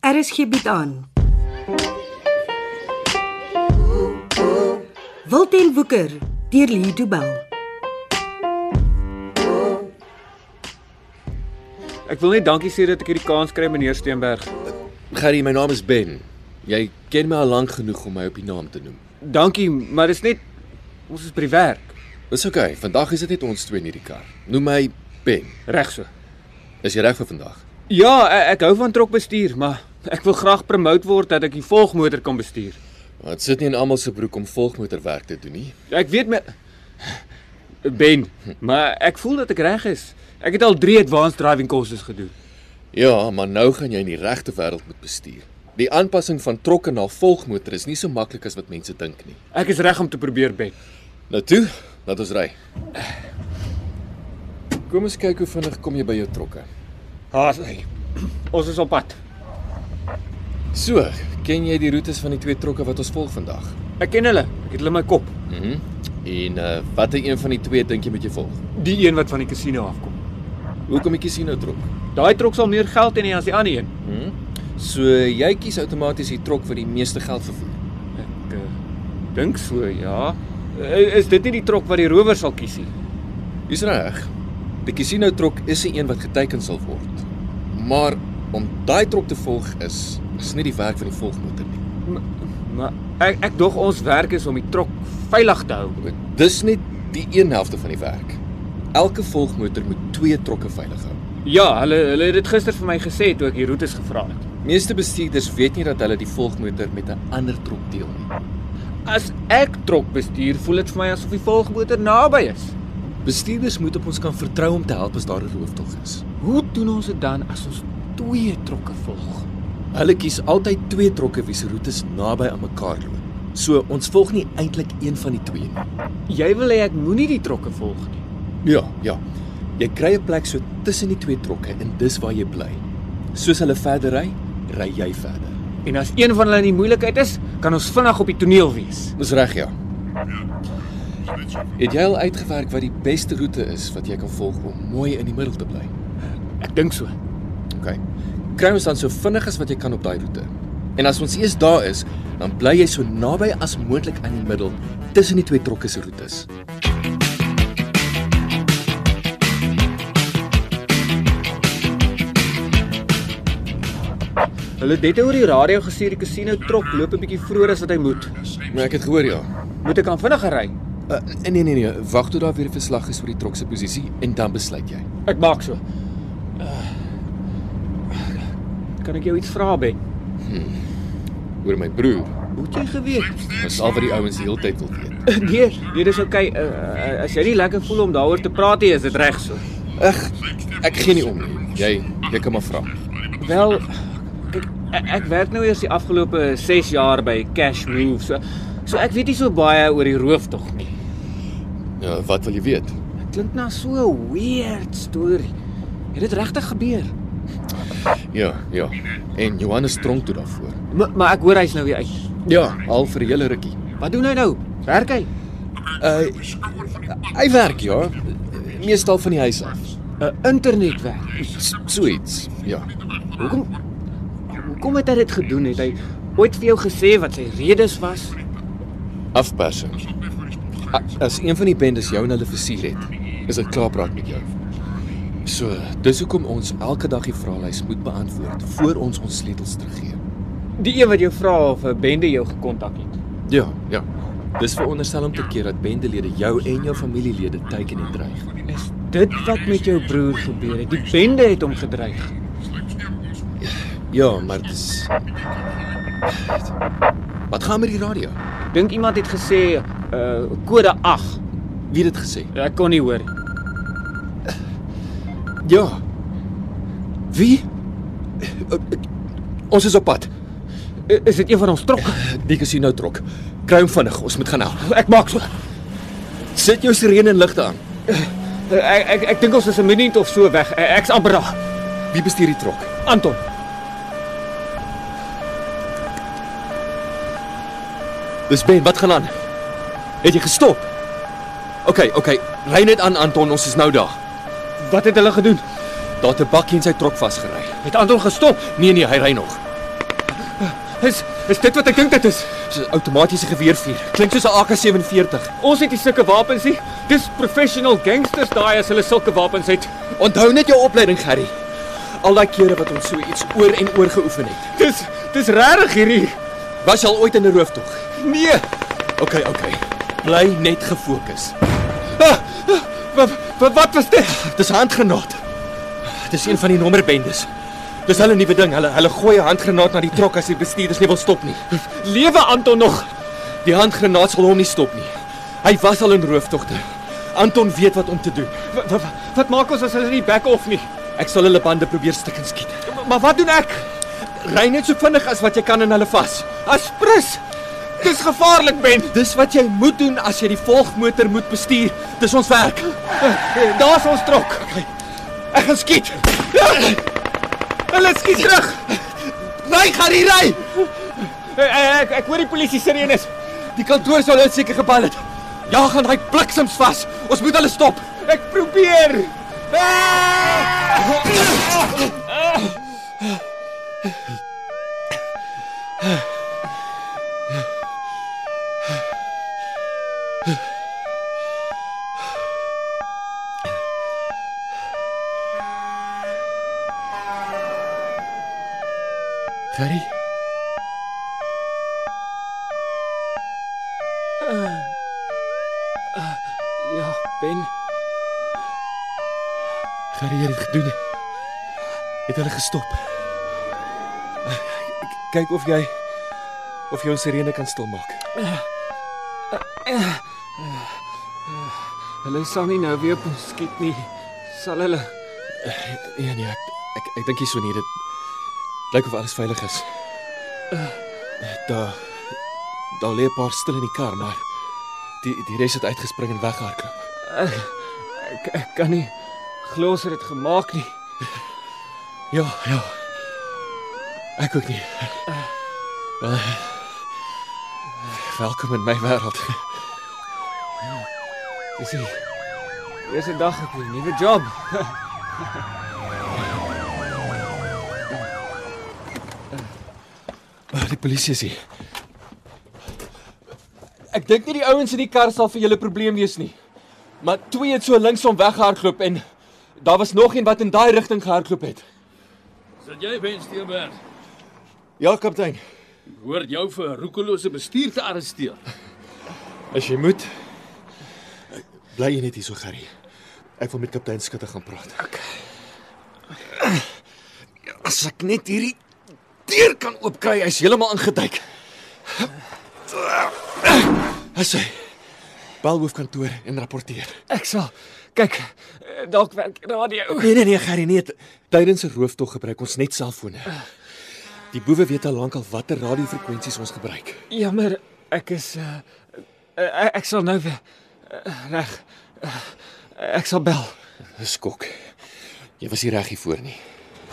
RSG bied Er aan. Wilten Woeker deur Lee Du Bell. Ek wil net dankie sê dat ek hierdie kans kry meneer Steenberg. Gerry, my naam is Ben. Jy ken my al lank genoeg om my op die naam te noem. Dankie, maar dis net ons is by die werk. Dis oukei. Okay. Vandag is dit net ons twee in hierdie kar. Noem my Ben. Reg so. Is jy reg vir vandag? Ja, ek, ek hou van trokbestuur, maar ek wil graag promote word dat ek die volgmotor kan bestuur. Maar dit sit nie in almal se broek om volgmotorwerk te doen nie. Ek weet my Ben, maar ek voel dat ek reg is. Ek het al 3 advanced driving courses gedoen. Ja, maar nou gaan jy in die regte wêreld moet bestuur. Die aanpassing van trokke na volgmotor is nie so maklik as wat mense dink nie. Ek is reg om te probeer, Ben. Nou toe, laat ons ry. Kom ons kyk hoe vinnig kom jy by jou trokke. Haas hy. Ons is op pad. So, ken jy die roetes van die twee trokke wat ons volg vandag? Ek ken hulle. Ek het hulle in my kop. Mhm. Mm en uh, watter een van die twee dink jy moet jy volg? Die een wat van die casino afkom. Hoekom die casino trok? Daai trok sal meer geld hê as die ander een. Mhm. Mm so jy kies outomaties die trok wat die meeste geld vervoer. Ek uh, dink so, ja. Uh, Is dit nie die trok wat die rower sal kies nie? Dis reg. Die casino trok is 'n een wat geteken sal word. Maar om daai trok te volg is is nie die werk van die volgmotor nie. Maar ek ek dog ons werk is om die trok veilig te hou. Dis net die een helfte van die werk. Elke volgmotor moet twee trokke veilig hou. Ja, hulle hulle het dit gister vir my gesê toe ek die roetes gevra het. Meeste bestuurders weet nie dat hulle die volgmotor met 'n ander trok deel nie. As ek trok bestuur, voel dit vir my asof die volgmotor naby is. Bestuurders moet op ons kan vertrou om te help as daar 'n rooftog is. Hoe doen ons dit dan as ons twee trokke volg? Hulle kies altyd twee trokke wie se roetes naby aan mekaar loop. So ons volg nie eintlik een van die twee nie. Jy wil hê ek moenie die trokke volg nie. Ja, ja. Jy kry 'n plek so tussen die twee trokke en dis waar jy bly. Soos hulle verder ry, ry jy verder. En as een van hulle in die moeilikheid is, kan ons vinnig op die toneel wees. Dis reg ja. Het jy al uitgewerk wat die beste roete is wat jy kan volg om mooi in die middel te bly? Ek dink so. OK. Kry ons dan so vinnig as wat jy kan op daai roete. En as ons eers daar is, dan bly jy so naby as moontlik aan die middel tussen die twee trokke se roetes. Hulle het net oor die radio gesê die casino trok loop 'n bietjie vroeër as wat hy moet. Maar ek het gehoor ja. Moet ek aan vinniger ry? Uh, nee nee nee, wag tot daar weer 'n verslag is oor die trok se posisie en dan besluit jy. Ek maak so. Uh, kan ek jou iets vra, Ben? Oor my broer, Hoe het jy geweet? dis al wat die ouens die hele tyd wil weet. Nee, nee, dis oukei. Okay. Uh, uh, as jy nie lekker voel om daaroor te praat nie, is dit reg so. Ag, ek gee nie om nie. Jy jy kan maar vra. Wel, kyk, ek, ek werk nou eers die afgelope 6 jaar by Cash Move, so so ek weet nie so baie oor die rooftog nie. Ja, wat wil jy weet? Dit klink na so 'n weird storie. Het dit regtig gebeur? Ja, ja. En Johannes tronk toe daarvoor. Ma, maar ek hoor hy's nou weer uit. Ja, al vir 'n hele rukkie. Wat doen hy nou? Werk hy? Uh hy werk ja, meestal van die huis af. 'n Internetwerk. S- So iets. Ja. Hoekom hoekom het hy dit gedoen? Het hy ooit vir jou gesê wat sy redes was? Afpersing. A- Ah, As een van die bendes jou en hulle versier het, is dit klaarpraat met jou. So, dis hoekom ons elke dag die vraelys moet beantwoord voor ons ons sleutels teruggee. Die een wat jou vra of 'n bende jou gekontak het. Ja, ja. Dis veronderstel om te keer dat bendelede jou en jou familielede teiken en dreig. Is dit wat met jou broer gebeur het? Die bende het hom gedreig. Ja, maar dis Wat gaan met die radio? Dink iemand het gesê uh kode 8. Wie het dit gesê? Ek kon nie hoor. Ja. Wie? Eh, Ons is op pad. I- Is dit een van ons trokke? Die casino trok. Kry hom vinnig, ons moet gaan help. Ek maak so. Sit jou sirene en ligte aan. Eh, Ek ek, ek dink ons is 'n minuut of so weg. Eh, Ek's amper daar. Wie bestuur die trok? Anton. Dis Ben, wat gaan aan? Het jy gestop? OK, OK. Ry net aan Anton, ons is nou daar. Wat het hulle gedoen? Daar het 'n bakkie in sy trok vasgery. Het Anton gestop? Nee nee, hy ry nog. Is is dit wat ek dink dit is? Dis 'n outomatiese geweervuur. Klink soos 'n AK47. Ons het nie sulke wapens nie. Dis professional gangsters daai as hulle sulke wapens het. Onthou net jou opleiding, Gerry. Al daai kere wat ons so iets oor en oor geoefen het. Dis dis regtig hierdie. Was jy al ooit in 'n rooftog? Nee. OK, OK. Bly net gefokus. Ah, ah, wat wat wat was dit? Dis 'n handgranaat. Dis een van die nommerbendes. Dis hulle nuwe ding. Hulle hulle gooi 'n handgranaat na die trok as die bestuurders nie wil stop nie. Lewe Anton nog. Die handgranaat sal hom nie stop nie. Hy was al in rooftogte. Anton weet wat om te doen. Wat, wat, wat maak ons as hulle nie back off nie? Ek sal hulle bande probeer stik en skiet. Maar, maar wat doen ek? Ry net so vinnig as wat jy kan en hulle vas. Aspris. Dis gevaarlik, Ben. Dis wat jy moet doen as jy die volgmotor moet bestuur. Dis ons werk. Daar's ons trok. Ek gaan skiet. Hulle skiet terug. Ry, Gary, ry. Ek ek, ek hoor die polisie sirene is. Die kantoor sal hulle seker gebel het. Ja, gaan hy bliksems vas. Ons moet hulle stop. Ek probeer. Ah! Gary. Ah. Ja, Ben. Gary het dit gedoen. Het hulle gestop. K- Ah, Kyk of jy of jy ons sirene kan stilmaak. Hulle sal nie nou weer op ons skiet nie. Sal hulle Nee nee, ek ek, ek dink nie so nie. Dit lyk of alles veilig is. Eh, Daar daar lê 'n paar stil in die kar, maar die die res het uitgespring en weggehardloop. ek, ek kan nie glo ons het dit gemaak nie. Ja, ja. Ek ook nie. Wel, welkom in my wêreld. Dis die eerste dag op 'n nuwe job. Maar die polisie is hier. Ek dink nie die ouens in die kar sal vir julle probleem wees nie. Maar twee het so linksom weggehardloop en daar was nog een wat in daai rigting gehardloop het. Sit jy Ben Steenberg? Ja, kaptein. Hoor jou vir roekelose bestuur te arresteer. As jy moet bly jy net hier so gerry. Ek wil met kaptein Skutte gaan praat. Okay. As ek net hierdie deur kan oopkry, hy's heeltemal ingeduik. As hy bel hoofkantoor en rapporteer. Ek sal kyk, eh, dalk werk die radio. Nee nee nee, gerry nee. Tydens 'n rooftog gebruik ons net selfone. Die boewe weet al lank al watter radiofrekwensies ons gebruik. Jammer, ek is uh, uh, ek sal nou weer uh, reg. Uh, ek sal bel. Dis skok. Jy was nie reg hier voor nie.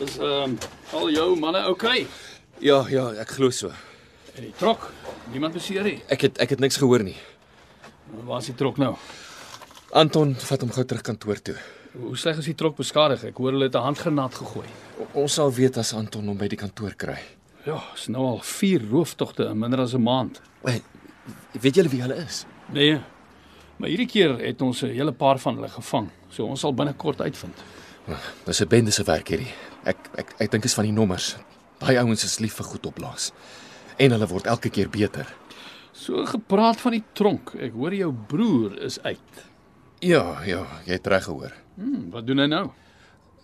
Dis ehm um, al jou manne okay. Ja ja, ek glo so. En die trok, niemand beseer nie. Ek het ek het niks gehoor nie. Waar is die trok nou? Anton vat hom gou terug kantoor toe. Hoe sleg is die trok beskadig? Ek hoor hulle het 'n handgranaat gegooi. O- Ons sal weet as Anton hom by die kantoor kry. Ja, is nou al 4 rooftogte in minder as 'n maand. Hey, weet julle wie hulle is? Nee. Maar hierdie keer het ons 'n hele paar van hulle gevang. So ons sal binnekort uitvind. Dis 'n bende se werk hierdie. Ek ek ek dink is van die nommers. Daai ouens is lief vir goed opblaas. En hulle word elke keer beter. So gepraat van die tronk. Ek hoor jou broer is uit. Ja, ja, jy het reg gehoor. Hm, wat doen hy nou?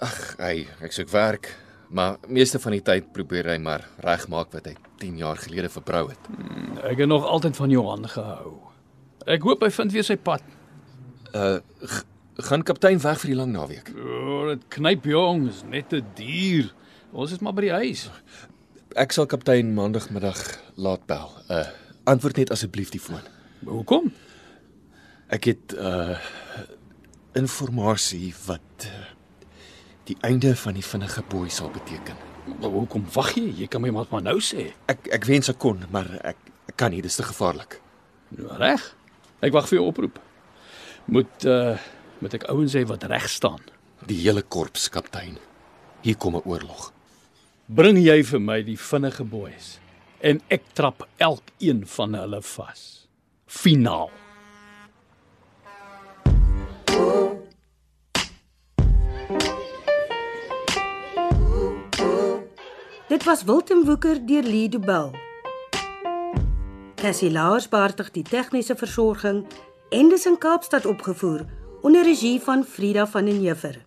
Ag, hy, ek soek werk, maar meeste van die tyd probeer hy maar regmaak wat hy 10 jaar gelede verbrou het. Ek het nog altyd van Johan gehou. Ek hoop hy vind weer sy pad. Uh g- gaan kaptein weg vir die lang naweek. O, dit knyp jong, is net te duur. Ons is maar by die huis. Ek sal kaptein maandagmiddag laat bel. Uh antwoord net asseblief die foon. Hoekom? Ek het uh informasie wat uh, die einde van die vinnige boei sal beteken. Maar hoekom wag jy? Jy kan my maar maar nou sê. Ek ek wens ek kon, maar ek ek kan nie, dis te gevaarlik. Nou reg. Ek wag vir jou oproep. Moet uh moet ek ouens hê wat reg staan. Die hele korps kaptein. Hier kom 'n oorlog. Bring jy vir my die vinnige boeis. en ek trap elkeen van hulle vas. Finaal. Dit was Wilten Woeker deur Lee Du Bell. Cassie Lars beheerdig die tegniese versorging en dis in Kaapstad opgevoer onder regie van Frida van den Heever.